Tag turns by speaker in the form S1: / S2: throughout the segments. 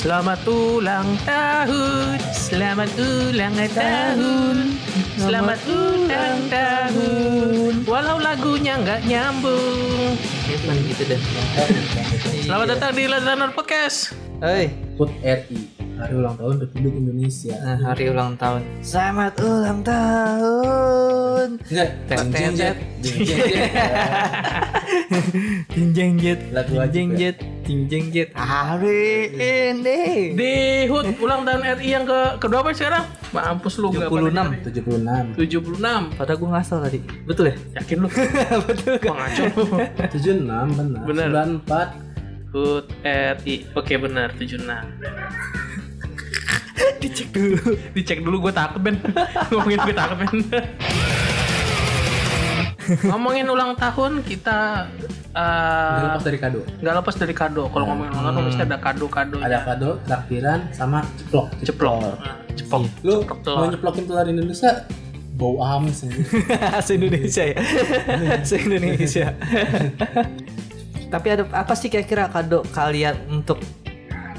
S1: Selamat ulang tahun, selamat ulang tahun, selamat ulang tahun. Walau lagunya nggak nyambung.
S2: Cuman gitu deh.
S1: Selamat datang di Lantaran Podcast.
S2: Hei,
S3: Put RI Hari ulang tahun Republik Indonesia
S2: nah, hari ulang tahun. Selamat ulang tahun.
S3: Enggak,
S2: Tet,
S3: jeng
S2: tet,
S3: jet Jeng Jet, Jet.
S2: Ting jeng jet,
S3: Lagu
S2: ting
S3: wajib
S2: jeng
S3: ya.
S2: jet, ting jeng jet. Hari ini.
S1: Di HUT ulang tahun RI yang ke keberapa sekarang? Mampus lu nggak
S2: 76.
S3: 76
S1: 76.
S2: Padahal gue ngasal tadi. Betul ya?
S1: Yakin lu?
S2: Betul
S1: Kok ngaco lu?
S3: 76 benar
S1: Benar.
S3: 94
S1: HUT RI. Oke benar 76.
S2: Dicek dulu.
S1: Dicek dulu gue takut Ben. Ngomongin gue takut Ben. Ngomongin ulang tahun kita
S3: Jangan
S1: eh,
S3: lepas dari kado
S1: nggak lepas dari kado. Kalau ngomongin ulang tahun pasti ada kado-kado.
S3: Ada kado, traktiran, sama ceplok
S1: ceplok. Nah, Ceplok.
S3: Lu
S1: Ceplok telur.
S3: mau nyeplokin telur Indonesia Bau amis ini
S2: Se Indonesia ya. Se Indonesia. Tapi ada apa sih kira-kira kado kalian untuk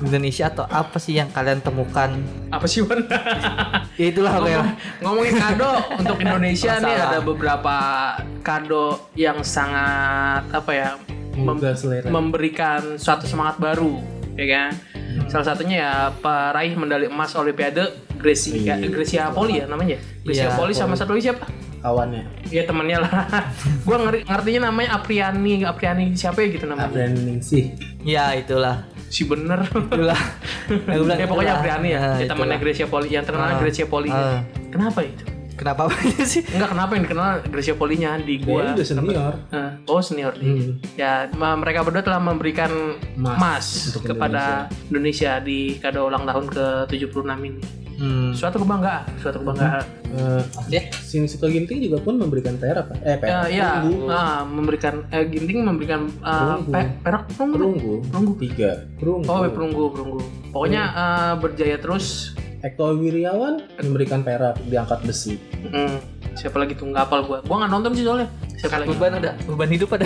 S2: Indonesia atau apa sih yang kalian temukan?
S1: Apa sih Wan?
S2: Ya itulah
S1: Ngomong-
S2: pokoknya.
S1: ngomongin kado untuk Indonesia nih
S2: Masalah.
S1: ada beberapa kado yang sangat apa ya mem-
S3: Menggugah selera
S1: memberikan suatu semangat baru ya kan
S2: Hmm.
S1: salah satunya ya peraih medali emas Olimpiade Gracie
S3: Iya.
S1: Gracia Poli ya namanya Gracia
S2: Iya,
S1: Poli sama satu lagi siapa
S3: Kawannya
S1: ya temannya lah gue ngertinya namanya Apriani Apriani siapa ya gitu namanya
S3: Abraham Ningsih
S2: Ya itulah.
S1: si bener
S2: Itulah. Ya, gua bilang
S1: ya pokoknya
S2: itulah.
S1: Apriani ya,
S2: Ah,
S1: ya temannya
S2: itulah.
S1: Gracia Poli yang terkenal
S2: Ah,
S1: Gracia Poli
S2: ah.
S1: kenapa itu
S2: Kenapa apanya sih?
S1: Enggak kenapa yang dikenal Gracia Polinya di
S2: Iya.
S3: Dia
S1: gua.
S3: udah senior
S1: Eh, oh senior dia.
S3: Hmm.
S1: Ya ma- mereka berdua telah memberikan
S3: Emas
S1: emas
S3: untuk
S1: kepada Indonesia. di kado ulang tahun ke 76 ini.
S2: Hmm.
S1: Suatu kebanggaan, suatu kebanggaan.
S3: Eh, Sinisuka Ginting juga pun memberikan perak
S1: Ya,
S3: eh perak
S1: ya,
S3: perunggu
S1: ah, memberikan eh, Ginting memberikan eh,
S3: Perunggu.
S1: pe- perak perunggu.
S3: perunggu
S1: Perunggu.
S3: tiga perunggu
S1: Oh, perunggu, perunggu. Pokoknya eh,
S3: Hmm.
S1: berjaya terus.
S3: Eko Wiriawan memberikan perak diangkat besi
S1: Hmm, siapa lagi tuh nggak hafal gua. Gua nggak nonton sih soalnya. Siapa lagi?
S2: Beban ada, beban hidup ada.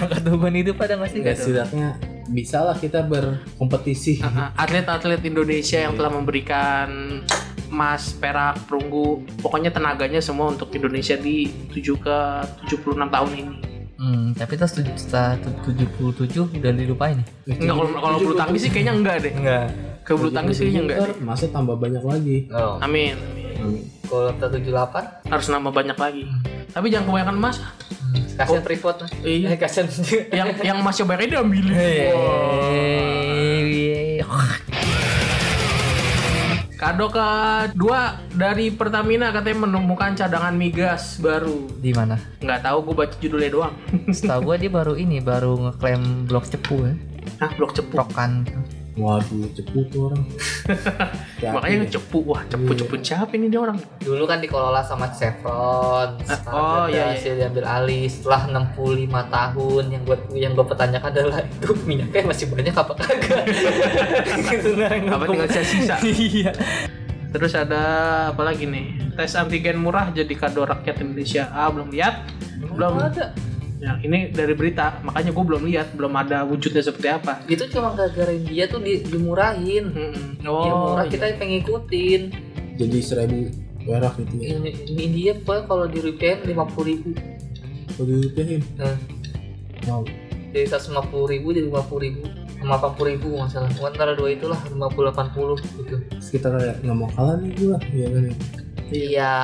S2: Angkat beban hidup ada nggak sih?
S3: ya setidaknya bisa lah kita berkompetisi
S1: Uh, atlet-atlet Indonesia yang telah memberikan emas, perak, perunggu, pokoknya tenaganya semua untuk Indonesia di 7 ke 76 tahun ini.
S2: Hmm, tapi terus tujuh- setelah tu- 77 udah dilupain ya?
S1: Enggak kalau kalau bulu tangkis sih kayaknya enggak deh.
S2: Enggak.
S1: Ke bulu tangkis kayaknya enggak deh.
S3: masa Iya, tambah banyak lagi
S2: Oh.
S1: Amin, amin.
S2: Kalau letak 78
S1: Harus nambah banyak lagi. Tapi jangan kebanyakan emas.
S2: kasihan Freeport.
S1: Iya.
S2: kasihan.
S1: yang yang masih banyak ini ambilin.
S2: Iya.
S1: Kado kedua dari Pertamina katanya menemukan cadangan migas baru.
S2: Di mana?
S1: Nggak tahu gue baca judulnya doang.
S2: Setahu gua dia baru ini baru ngeklaim blok cepu ya.
S1: Hah, blok cepu.
S2: Rokan.
S3: waduh cepu tuh orang ya? Hati-hati
S1: Makanya
S3: deh.
S1: cepu. Wah, cepu-cepu siapa ini dia orang?
S2: Dulu kan dikelola sama Chevron.
S1: oh,
S2: Sekarang udah
S1: iya, iya.
S2: berhasil diambil alih setelah 65 tahun yang gua yang gua pertanyakan adalah itu minyaknya masih banyak apa kagak? gitu nah,
S1: Apa
S2: ngomong.
S1: tinggal sisa-sisa?
S2: Iya.
S1: Terus ada apa lagi nih? Tes antigen murah jadi kado rakyat Indonesia. Ah, belum lihat. Belum.
S2: Ada.
S1: Ya, ini dari berita, makanya gue belum lihat, belum ada wujudnya seperti apa.
S2: Itu cuma gara-gara dia tuh di- dimurahin.
S1: Mm-mm.
S2: dia
S1: Oh,
S2: murah gitu.
S1: iya.
S2: kita pengen ngikutin.
S3: jadi seribu perak gitu ya
S2: Ini, ini dia pokoknya kalau di repair 50 ribu.
S3: udah dipiahin
S2: Nah,
S3: mau
S2: dari 150 ribu jadi 50 ribu sama 80 ribu masalah antara dua itulah 50 80 gitu
S3: sekitar kayak nggak mau kalah nih gua ya kan ya.
S2: iya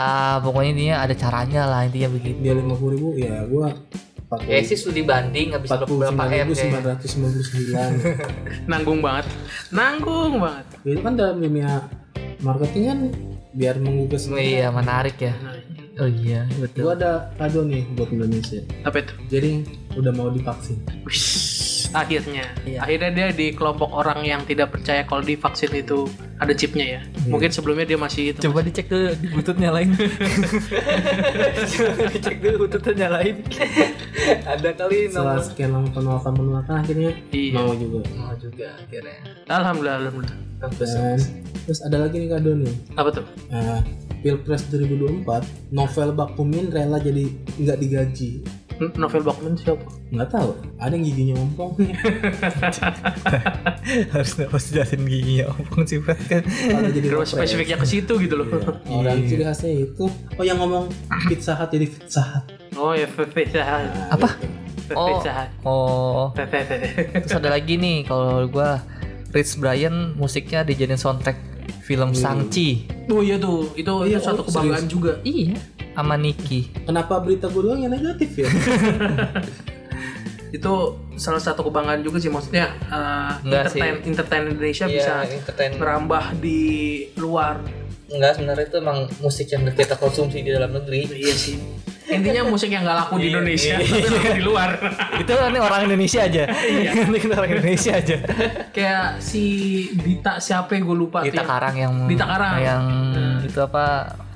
S2: pokoknya dia ada caranya lah intinya begitu
S3: dia lima puluh ribu ya gua
S2: ya
S3: pakai
S2: sih studi banding habis
S3: empat puluh
S2: berapa M ya? kayak
S1: nanggung banget. Nanggung banget.
S3: itu kan dalam dunia marketing kan biar menggugah
S2: Oh,
S3: selera.
S2: iya menarik ya
S1: Nah,
S2: oh iya
S3: Gua
S2: betul
S3: ada kado nih buat Indonesia.
S1: apa itu?
S3: Jadi udah mau divaksin.
S1: Wih, akhirnya.
S2: Iya.
S1: Akhirnya dia di kelompok orang yang tidak percaya kalau divaksin itu ada chipnya ya.
S2: Iya.
S1: Mungkin sebelumnya dia masih itu.
S2: coba dicek dulu di butut nyalain coba dicek dulu bututnya nyalain ada kali
S3: Setelah
S2: nomor
S3: sekian lama penolakan penolakan akhirnya
S1: Iya.
S3: mau juga.
S2: Oh, juga akhirnya
S1: Alhamdulillah, alhamdulillah.
S3: Dan terus ada lagi nih kado nih.
S1: Apa tuh?
S3: Eh, Pilpres 2024, novel Bakumin rela jadi nggak digaji.
S1: N- Novel Bachman siapa?
S3: nggak tahu ada yang giginya ompong
S2: harus harus jelasin giginya ompong sih Fred, kan
S3: kalau jadi
S1: Kenapa
S3: referensi.
S1: spesifiknya ke situ gitu loh.
S3: Iya. orang
S2: Iya.
S3: ciri khasnya itu oh yang ngomong pizza hut jadi pizza hut
S1: Oh ya Fefe Sahat.
S3: Nah,
S2: Apa?
S3: gitu.
S1: Fefe
S2: Oh.
S1: Sahat.
S2: oh
S1: Fefe Sahat.
S2: terus ada lagi nih kalau gua Rich Brian musiknya dijadiin soundtrack film Sangchi
S1: Oh iya tuh, itu,
S3: Iya,
S1: itu suatu
S3: oh,
S1: kebanggaan juga.
S2: iya sama Niki
S3: kenapa berita gue doang yang negatif ya
S1: Itu salah satu kebanggaan juga sih maksudnya eh,
S2: Enggak sih.
S1: entertain, entertain
S2: Iya,
S1: Indonesia bisa
S2: entertain
S1: merambah di luar.
S2: enggak sebenarnya itu emang musik yang kita konsumsi di dalam negeri
S1: Iya sih. Intinya musik yang nggak laku di
S2: Iya,
S1: Indonesia,
S2: iya.
S1: tapi laku di luar.
S2: itu ini orang Indonesia aja
S1: Iya.
S2: ini kita orang Indonesia aja
S1: Kayak si Dita siapa gue lupa
S2: Dita
S1: tuh. ya.
S2: Karang yang
S1: Iya. Dita Karang.
S2: yang
S1: Hmm.
S2: itu apa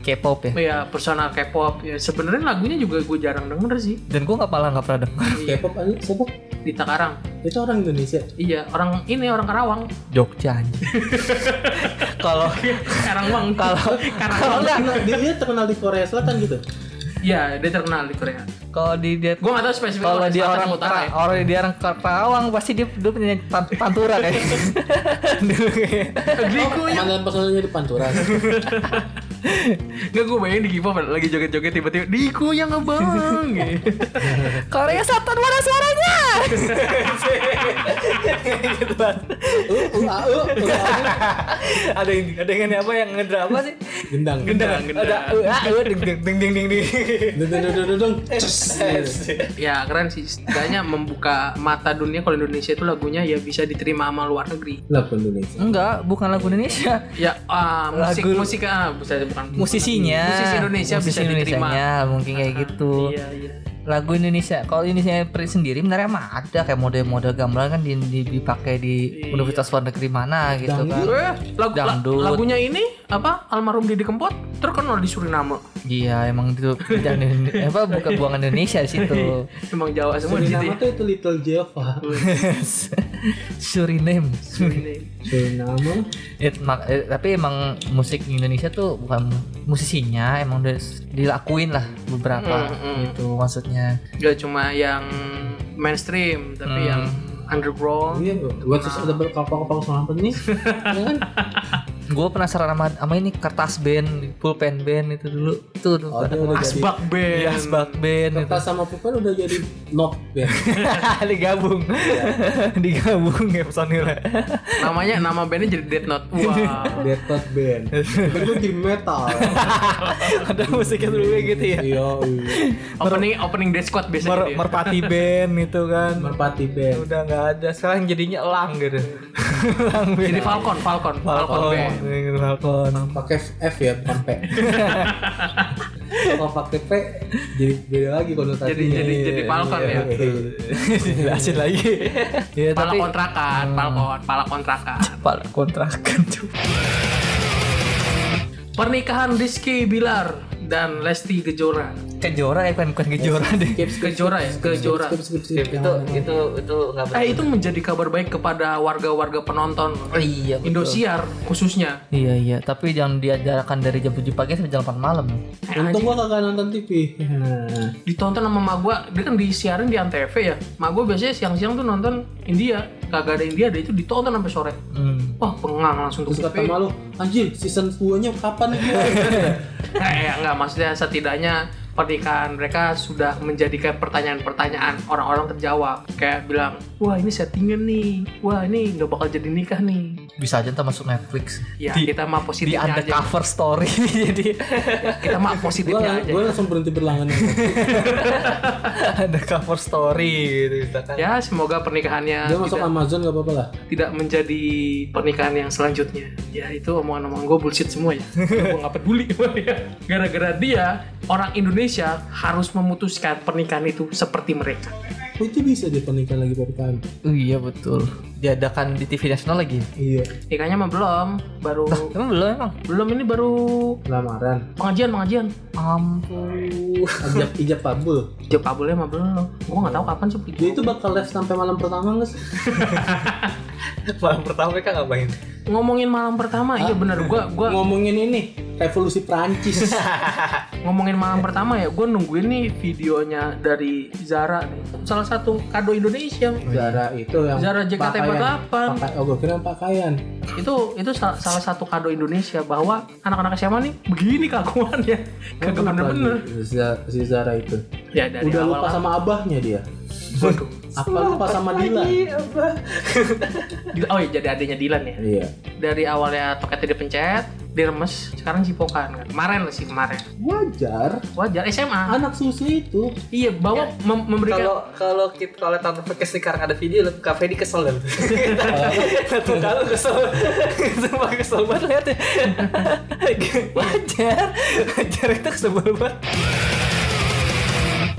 S2: K-pop ya
S1: Ya, personal K-pop. Ya, sebenarnya lagunya juga gue jarang denger sih.
S2: dan gue nggak malah nggak pernah denger
S3: K-pop aja siapa
S1: Dita Karang.
S3: itu orang Indonesia
S1: Iya, orang ini orang Karawang.
S2: Jogja aja kalau
S1: Karawang
S2: kalau kalau
S1: Karawang.
S2: nggak
S3: dia, dia terkenal di Korea Selatan gitu
S1: Iya, dia terkenal di Korea.
S2: kalau di dia
S1: Gue gak tahu spesifik
S2: kalau
S1: di
S2: dia
S1: Selatan
S2: orang
S1: utara ya.
S2: orang dia orang Karawang pasti dia dia punya pan- pantura kayak Dulu kayak-
S1: Gliku ya.
S3: mantan personalnya di Pantura
S1: Nggak gue bayangin di K-pop lagi joget-joget tiba-tiba Diku yang ngebang. gitu.
S2: Korea Selatan mana suaranya gitu kan.
S3: uh, uh, uh, uh, uh.
S2: ada yang ada yang apa yang ngedrama sih
S3: gendang
S1: Gendang,
S2: ada
S1: gendang.
S2: uh, uh, ding ding ding ding ding ding
S3: Deng, deng, deng, deng, deng, deng. Cus.
S1: Ya keren sih. Setidaknya membuka mata dunia kalau Indonesia itu lagunya ya bisa diterima sama luar negeri.
S3: lagu Indonesia
S2: enggak bukan lagu Indonesia
S1: Ya ah, musik
S2: Lagu-
S1: musik ah bisa bukan
S2: musisinya
S1: Musisi Indonesia bisa diterima.
S2: Indonesianya mungkin kayak gitu
S1: Iya iya.
S2: lagu Indonesia kalau Indonesia pri- sendiri sebenarnya emang ada kayak model-model gamelan kan di, di- dipakai di
S1: Iya.
S2: universitas luar negeri mana gitu kan
S1: Eh, lagu, la-
S2: Dangdut.
S1: lagunya ini apa almarhum Didi Kempot terkenal di Suriname.
S2: iya emang itu bidang Indone- apa bukan buangan Indonesia di situ
S1: Emang Jawa semua di situ.
S3: Suriname
S1: ya.
S3: tuh itu Little Java
S2: Suriname
S1: Suriname.
S3: Suriname
S2: It mak- eh, tapi emang musik Indonesia tuh bukan musisinya emang udah s- dilakuin lah
S1: Mm,
S2: beberapa
S1: mm.
S2: gitu maksudnya
S1: Gak cuma yang mainstream tapi
S2: Hmm.
S1: yang underground.
S3: Iya, buat terus ada kapal-kapal selam nih, ya kan?
S2: gue penasaran sama, sama ini kertas band pulpen band itu dulu tuh dulu.
S3: Oh, dia udah jadi
S1: Asbak band.
S2: Iya, asbak band itu
S3: kertas sama pulpen udah jadi not ya.
S2: digabung digabung ya personilnya
S1: Namanya nama bandnya jadi Death Note. Wah.
S3: Detot band. Itu jadi metal.
S2: ada musiknya sebelumnya gitu ya
S3: Iya, iya.
S1: opening opening Death Squad biasanya.
S2: Iya. Mer-
S1: dia.
S2: merpati band itu kan
S3: Merpati band.
S2: udah nggak ada sekarang jadinya elang gitu elang band Iya,
S1: Jadi Falcon, Falcon, Falcon, band.
S2: Falcon.
S3: Pakai F ya, bukan P. Kalau pakai P jadi beda lagi konotasinya. Iya,
S1: Jadi jadi jadi Falcon ya.
S2: Jelasin lagi. ya,
S1: Pala kontrakan, Falcon, pala kontrakan.
S2: pala kontrakan tuh.
S1: Pernikahan Rizky Bilar dan Lesti Kejora.
S2: Kejora ya bukan bukan kejora deh.
S3: Skip, skip,
S1: Kejora ya, Kejora.
S3: skip, skip, skip.
S2: itu itu itu nggak
S1: Eh itu menjadi kabar baik kepada warga-warga penonton
S2: iya betul.
S1: Indosiar khususnya.
S2: Iya iya, tapi jangan diajarkan dari jam 7 pagi sampai jam 8 malam.
S1: Eh,
S3: Untung
S1: anjing,
S3: gua kagak nonton TV. Nah,
S1: ditonton sama mak gua, dia kan disiarin di Antv ya. Mak gua biasanya siang-siang tuh nonton India, kagak ada India, dia itu ditonton sampai sore.
S2: Hmm.
S1: Wah, pengang langsung
S3: Terus
S1: tuh
S3: kata malu, anjir season 2-nya kapan nih?
S1: Kayak Eh, enggak maksudnya setidaknya pernikahan mereka sudah menjadikan pertanyaan-pertanyaan orang-orang terjawab kayak bilang wah ini settingan nih wah ini nggak bakal jadi nikah nih
S2: Bisa aja ntar masuk Netflix.
S1: ya
S2: di,
S1: kita mah
S2: di
S1: positifnya aja
S2: undercover story jadi
S1: kita mah
S3: gue
S1: positifnya aja
S3: langsung berhenti berlangganan
S2: undercover story gitu bisa kan.
S1: ya semoga pernikahannya
S3: dia masuk
S1: tidak,
S3: Amazon gak apa-apa lah
S1: tidak menjadi pernikahan yang selanjutnya ya itu omongan-omongan gue bullshit semua ya gue nggak peduli gara-gara dia orang Indonesia harus memutuskan pernikahan itu seperti mereka
S3: Oh, itu bisa dia pernikahan lagi ppkm
S2: iya betul. diadakan di TV nasional lagi?
S3: iya
S1: Nikahnya mah belum, baru
S2: Emang belum emang?
S1: belum ini baru
S3: lamaran
S1: pengajian pengajian. Oh.
S2: Ampun.
S3: ijab ijab kabul
S1: Jawab kabulnya mah belum. Gua nggak tahu kapan sih.
S3: dia Ya itu bakal live sampai malam pertama nggak sih
S2: Malam pertama mereka ngapain?
S1: ngomongin malam pertama, iya bener gua gua
S3: ngomongin ini revolusi Prancis
S1: ngomongin malam pertama ya, gua nungguin nih videonya dari Zara nih. Salah satu kado Indonesia.
S3: Zara itu yang
S1: Zara
S3: pakaian.
S1: JKT48.
S3: Pakai, oh gue kira pakaian
S1: Itu itu sa- salah satu kado Indonesia bahwa anak-anak SMA nih begini kakuannya. Kagak
S3: Lupa
S1: bener-bener.
S3: dia, si Zara- si Zara itu
S1: Ya dari awal
S3: udah lupa sama abahnya dia
S1: Waduh.
S3: apa lupa sama Dila
S1: Dila- Oh iya jadi adanya Dilan ya.
S3: iya
S1: Dari awalnya toketnya dipencet, diremes, sekarang cipokan. Kemarin sih kemarin.
S3: wajar
S1: Wajar SMA.
S3: anak susu itu
S1: Iya bahwa mem- memberikan
S2: Kalau kalau kita kalau tonton podcast sekarang ada video, lu- Kak Fedi kesel dan satu kali kesel, sumpah kesel banget liatnya. Wajar, wajar itu kesel banget.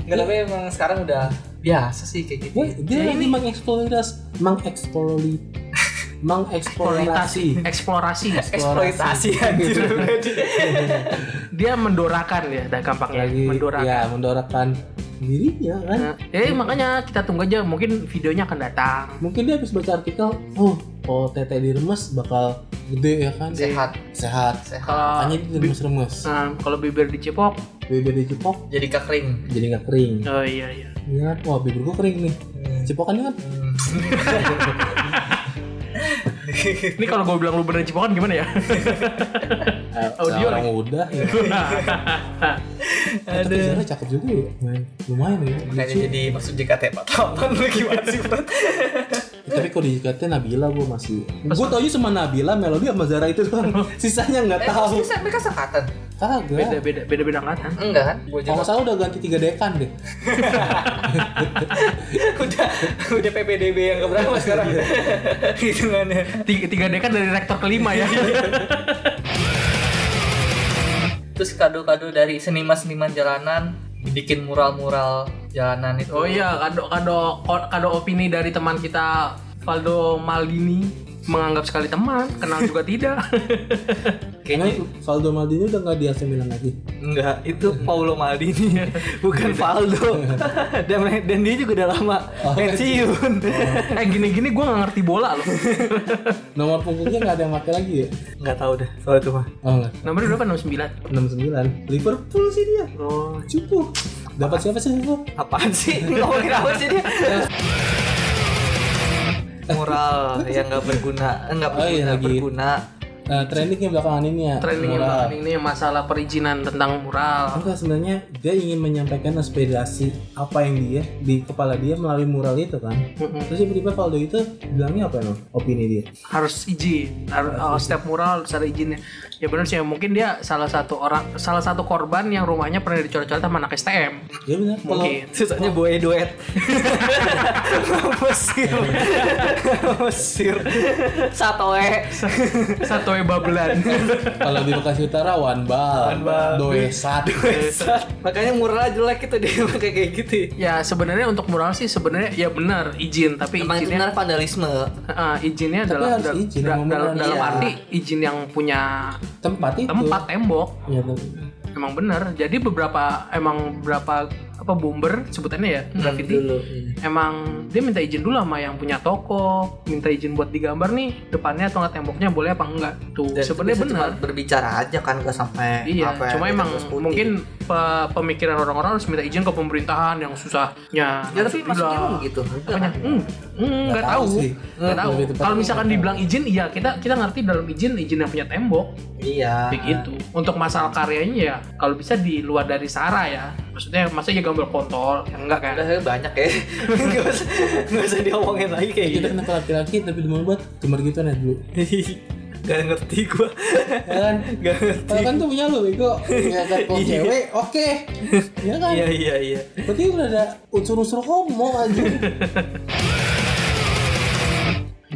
S2: Nggak tapi emang sekarang udah biasa sih kayak gitu.
S3: dia, dia
S1: Ya,
S3: lagi
S1: ini-
S3: mengeksplorasi mengeksplorasi mengeksplorasi
S1: eksplorasi, eksplorasi.
S2: Eksploitasi anjir.
S1: Dia mendorakan ya, dah gampangnya
S3: lagi
S1: mendorakan.
S3: ya mendorakan dirinya kan
S1: Nah, eh makanya kita tunggu aja, mungkin videonya akan datang.
S3: mungkin dia habis baca artikel oh oh tete diremes bakal gede ya kan
S2: Sehat,
S3: sehat
S2: sehat.
S1: Kalau
S3: makanya dia diremes remes
S1: eh, kalau bibir dicipok,
S3: bibir dicipok
S2: Jadi kekering.
S3: jadi nggak kering
S1: oh iya iya.
S3: ya kan? wah bibir gua kering nih
S2: Hmm.
S3: cipokannya kan
S1: Ini kalau gue bilang lu bener cipokan gimana ya?
S3: eh,
S1: Audio
S3: orang udah ya.
S1: Nah.
S3: Eh, tapi Zara cakep juga ya Main. lumayan ya lucu.
S2: Makanya jadi masuk JKT48 lu gimana kan sih Bro?
S3: Eh, tapi kalau dikatain Nabila gua masih gua taunya cuma Nabila Melody sama Zara itu doang sisanya nggak
S2: Eh,
S3: tahu
S2: maksudnya mereka sekatan?
S1: Beda
S3: kagak
S1: beda beda beda angkatan.
S2: Enggak kan? Gue
S3: kalau nggak salah udah ganti tiga dekan deh
S2: udah udah PPDB yang keberapa sekarang? Hitungannya.
S1: Tiga, tiga dekan dari rektor kelima ya.
S2: Terus kado-kado dari seniman-seniman jalanan bikin mural-mural jalanan itu.
S1: oh iya, kado kado kado opini dari teman kita Valdo Maldini menganggap sekali teman, kenal juga tidak.
S3: kayaknya Valdo Maldini udah nggak di AC Milan lagi
S2: Enggak, itu Paulo Maldini, bukan Valdo. dan dan dia juga udah lama pensiun. Oh.
S1: eh gini-gini gue nggak ngerti bola loh.
S3: nomor punggungnya nggak ada yang pakai lagi ya
S2: Enggak tahu deh soal itu mah.
S3: oh nggak
S1: Nomornya berapa? 69.
S3: 69 Liverpool sih dia
S1: Oh.
S3: cukup dapat siapa sih itu
S2: Apaan sih? Ini Ngomongin apa sih dia? Moral yang nggak berguna, nggak
S3: Oh,
S2: berguna,
S3: iya, lagi.
S2: berguna.
S3: nah trendingnya belakangan ini ya
S1: Training
S3: Moral.
S1: yang ini masalah perizinan tentang mural.
S3: Enggak sebenarnya dia ingin menyampaikan aspirasi apa yang dia di kepala dia melalui mural itu kan.
S1: Mm-mm.
S3: Terus tiba-tiba Valdo itu bilangnya apa no? Opini dia.
S1: harus izin Har- oh, setiap mural harus ada izinnya ya benar sih mungkin dia salah satu orang salah satu korban yang rumahnya pernah dicoret-coret sama anak STM
S3: Dia benar kalau
S1: mungkin
S2: Susahnya buaya duet. Mesir. Mesir. Satoe.
S1: satu babelan
S3: kalau di Bekasi Utara Wanbal, Doesat.
S2: Makanya murah jelek itu dia pakai kayak gitu.
S1: ya sebenarnya untuk mural sih sebenarnya ya benar izin tapi
S2: Emang itu
S1: izinnya
S2: benar vandalisme.
S1: eh, izinnya
S3: Tapi
S1: dalam
S3: harus
S1: dal-
S3: izin
S1: da-
S3: sama
S1: dalam
S3: mural.
S1: dalam
S2: Iya.
S1: arti izin yang punya
S3: Tempat itu.
S1: tempat tembok
S3: Ya, tem-
S1: emang benar jadi beberapa emang beberapa apa bomber sebutannya ya graffiti
S2: Hmm, Dulu.
S1: emang dia minta izin dulu sama yang punya toko minta izin buat digambar nih depannya atau nggak temboknya boleh apa enggak tuh
S2: Dan
S1: sebenarnya
S2: itu cuma
S1: benar
S2: berbicara aja kan nggak sampai
S1: iya
S2: apa,
S1: cuma
S2: hitam
S1: emang
S2: terus putih.
S1: mungkin pe- pemikiran orang-orang harus minta izin ke pemerintahan yang susahnya
S2: Ya tapi
S1: Harus
S2: maksudnya
S1: bilang.
S2: emang gitu.
S1: Apanya? Hmm, hmm, nggak
S3: tahu
S1: tahu
S3: sih.
S1: nggak tahu
S3: Lebih tepatnya
S1: kalau misalkan
S3: nggak tahu.
S1: dibilang izin iya kita kita ngerti dalam izin izin yang punya tembok
S2: Iya.
S1: begitu untuk masalah karyanya ya kalau bisa di luar dari sara ya maksudnya masa ya gambar kontol ya enggak kan
S2: Udah banyak ya. Enggak usah nggak usah diomongin lagi kayak
S3: Kita
S2: gitu.
S3: kenapa laki-laki tapi demen buat gemar gitu nih dulu.
S2: Gak ngerti gua.
S3: Ya kan?
S2: Gak ngerti.
S3: Kalau kan tuh punya lu bego. Ya kan kalau
S1: Iya.
S3: cewek oke. Ya kan?
S2: Iya iya iya.
S3: Berarti udah ada unsur-unsur homo aja.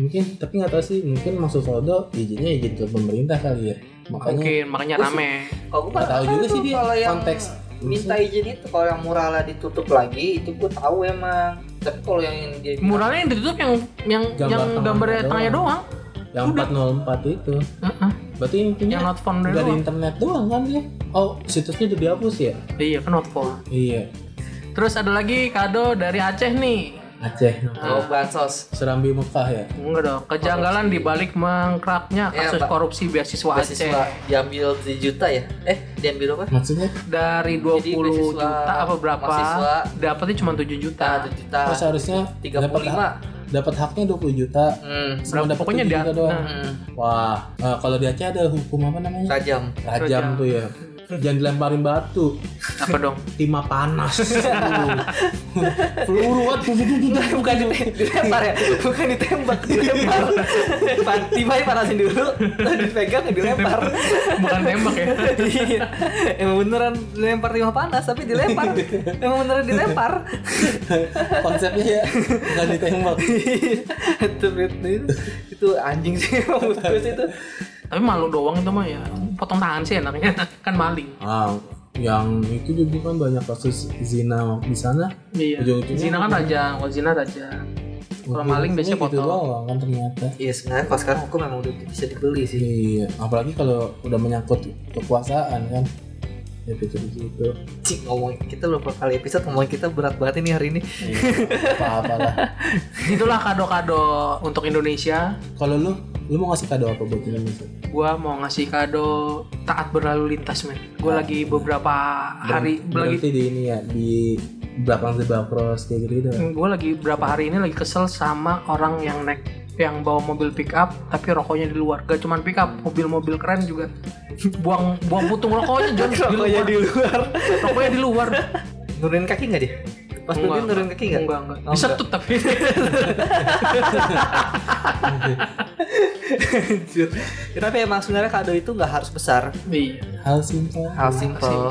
S3: mungkin tapi nggak tahu sih mungkin maksud Soldo izinnya izin ke pemerintah kali ya makanya
S1: mungkin makanya rame
S2: Kalau gua
S3: nggak tahu juga
S2: tuh
S3: sih dia
S2: kalau yang
S3: konteks
S2: minta izin itu kalau yang muralnya ditutup lagi itu gua tahu emang. tapi kalau yang dia bilang-
S1: Muralnya yang ditutup yang yang
S3: Gambar
S1: yang
S3: tangan
S1: gambarnya
S3: doang.
S1: tangannya doang.
S3: Yang 404 itu.
S1: Heeh.
S3: Berarti intinya
S1: Yang not found
S3: nggak ada
S1: doang.
S3: internet doang kan dia? Oh, situsnya udah dihapus ya?
S1: Iya, kan not found.
S3: Iya.
S1: Terus ada lagi kado dari Aceh nih.
S3: Aceh.
S2: oh bansos
S3: Serambi Mekah ya?
S1: Enggak dong, kejanggalan dibalik mengkraknya
S2: Iya,
S1: kasus
S2: Pak.
S1: korupsi beasiswa Aceh
S2: beasiswa diambil 7 juta ya eh diambil apa
S3: Maksudnya?
S1: dari 20
S2: Jadi beasiswa
S1: juta apa berapa
S2: mahasiswa.
S1: dapatnya cuma 7
S2: nah,
S1: juta.
S2: 7 juta
S3: Terus harusnya
S2: 35
S3: dapat dapat haknya 20 juta.
S2: hmm,
S3: Semua
S1: Berapa-
S3: dapat
S1: pokoknya
S3: 7
S1: dia-
S3: juta doang.
S1: nah.
S2: hmm,
S3: Wah, eh, kalau di Aceh ada hukum apa namanya?
S2: tajam
S1: Rajam.
S3: Rajam tuh ya. Jangan dilemparin batu,
S1: Apa dong?
S3: timah panas. Aduh. Peluru kan tuh
S2: bukan dite- dilempar ya bukan ditembak dilempar Pan- timahnya panasin dulu lalu dipegang dilempar
S1: Bukan tembak ya.
S2: Iya. emang beneran dilempar timah panas tapi dilempar emang beneran dilempar
S3: Konsepnya ya bukan ditembak.
S2: itu itu itu anjing sih emang menurut gue sih itu
S1: Tapi malu doang itu mah ya. Potong tangan sih enaknya. Kan maling.
S3: Ah, yang itu juga kan banyak kasus zina di sana.
S1: Iya.
S3: Ujung-ujungnya
S1: Zina kan raja, kalau zina raja. Kalau maling biasanya
S3: Ujung-ujungnya gitu
S1: potong.
S3: doang kan ternyata.
S2: Iya sebenarnya kalau sekarang hukum emang udah bisa dibeli sih.
S3: Iya, apalagi kalau udah menyangkut kekuasaan kan. Ya pikir gitu.
S2: Cing ngomong kita lupa kali episode ngomong kita berat banget ini hari ini.
S3: Iya, Apa-apa lah.
S1: Itulah kado-kado untuk Indonesia.
S3: Kalau lu, lu mau ngasih kado apa buat Indonesia?
S1: Gua mau ngasih kado taat berlalu lintas, men.
S2: Ah,
S1: Gua lagi beberapa hari lagi
S3: Berarti di ini ya di belakang zebra cross kayak gitu, gitu.
S1: gue Hmm, lagi berapa hari ini lagi kesel sama orang yang naik yang bawa mobil pick up tapi rokoknya di luar gak cuman pick up mobil-mobil keren juga buang buang putung rokoknya John di luar
S2: luar.
S1: rokoknya di luar
S2: Nurunin kaki nggak dia? Pas
S1: Enggak,
S2: nurunin nurunin kaki nggak?
S1: enggak enggak
S2: Oh,
S1: disetut tapi
S2: Anjir. Tapi emang sebenarnya kado itu nggak harus besar.
S1: iya
S3: Hal Iya, simpel.
S2: Hal simple.
S1: simple.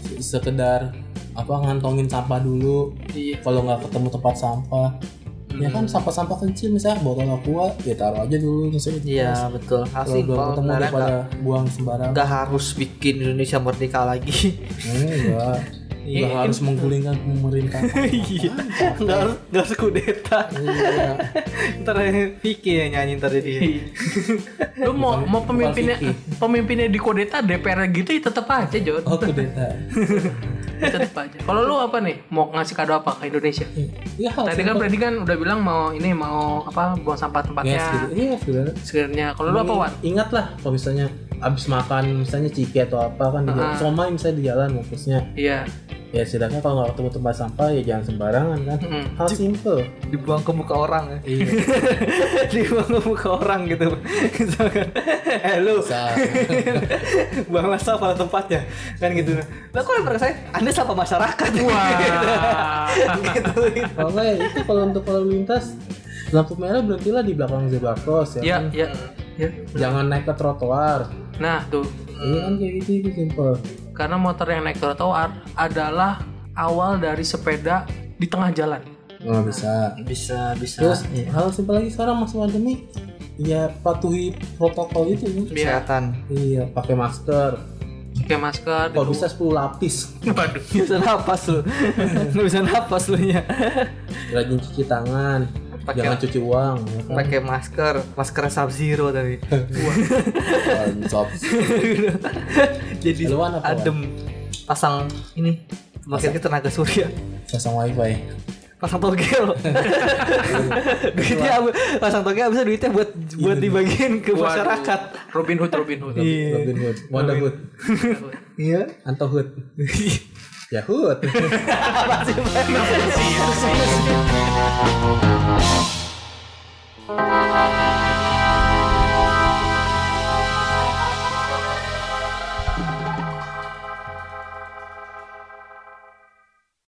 S3: Se- Sekedar apa ngantongin sampah dulu.
S1: iya
S3: Kalau nggak ketemu tempat sampah, ya
S2: Hmm.
S3: kan sampah-sampah kecil misalnya botol aqua ya taruh aja dulu misalnya.
S2: Iya betul. Hal
S3: Kalau belum
S2: simple.
S3: ketemu
S2: Sebenarnya
S3: daripada
S2: nggak-
S3: buang sembarangan.
S2: nggak harus bikin Indonesia merdeka lagi.
S3: Enggak. Enggak
S2: Iya,
S3: Iya, harus menggulingkan pemerintah.
S2: Iya. Nggak harus nggak harus kudeta.
S3: Iya.
S2: Ntar pikir yang nyanyi ntar jadi.
S1: Iya. lu mau
S3: Bukan-
S1: mau
S3: bukan
S1: pemimpinnya
S3: Vicky.
S1: pemimpinnya di kodeta DPR gitu ya tetep aja John
S3: Oh kudeta.
S1: tetep aja kalau lu apa nih mau ngasih kado apa ke Indonesia
S3: Iya. hal
S1: tadi kan
S3: simple.
S1: berarti kan udah bilang mau ini mau apa buang sampah tempatnya
S3: Yes,
S2: ya?
S3: gitu. Iya, sebenarnya.
S1: sebenarnya kalau lu
S3: Hmm.
S1: apa Wan
S3: Ingatlah kalau misalnya abis makan misalnya ciki atau apa kan di jalan.
S1: Ah.
S3: Somai misalnya di jalan bungkusnya.
S1: iya
S3: Ya setidaknya kalau nggak ketemu tempat sampah ya jangan sembarangan kan.
S1: Mm.
S3: Hal simple.
S2: Dibuang ke muka orang ya.
S3: Iya.
S2: dibuang ke muka orang gitu misalkan eh lu
S3: Bisa.
S2: buanglah sampah pada tempatnya kan gitu lah kok lempar ke saya anda sampah masyarakat
S1: Wah.
S2: gitu
S3: Kalau nggak ya itu kalau untuk lalu lintas lampu merah berhentilah di belakang zebra cross
S1: ya,
S3: ya. kan?
S1: ya, ya.
S3: Jangan naik ke trotoar.
S1: Nah, tuh.
S3: Ini kan kayak gitu itu simple.
S1: Karena motor yang naik trotoar adalah awal dari sepeda di tengah jalan.
S3: Nggak bisa. Iya.
S2: bisa bisa
S3: Terus hal simpel lagi sekarang masih pandemi ya patuhi protokol itu ya.
S1: Biar
S2: kesehatan
S3: Iya, pakai masker.
S1: pakai masker.
S3: Kalau bisa 10 lapis.
S1: Waduh.
S2: bisa napas lu nggak bisa napas lu nya
S3: Rajin cuci tangan.
S2: Pakai-
S3: Jangan cuci uang. ya kan?
S2: pakai masker masker sub zero tadi
S3: Konsop.
S2: jadi
S3: Lu apa, Wan?
S2: adem pasang ini Makin tenaga surya
S3: Pasang wifi.
S2: pasang togel duitnya abu- pasang togel bisa duitnya buat buat dibagiin ke
S1: Waduh.
S2: masyarakat
S1: Robin Hood, Robin Hood.
S2: Iya.
S3: Robin Hood. Wonder Hood.
S2: iya
S3: Anto Hood. Ya Hood.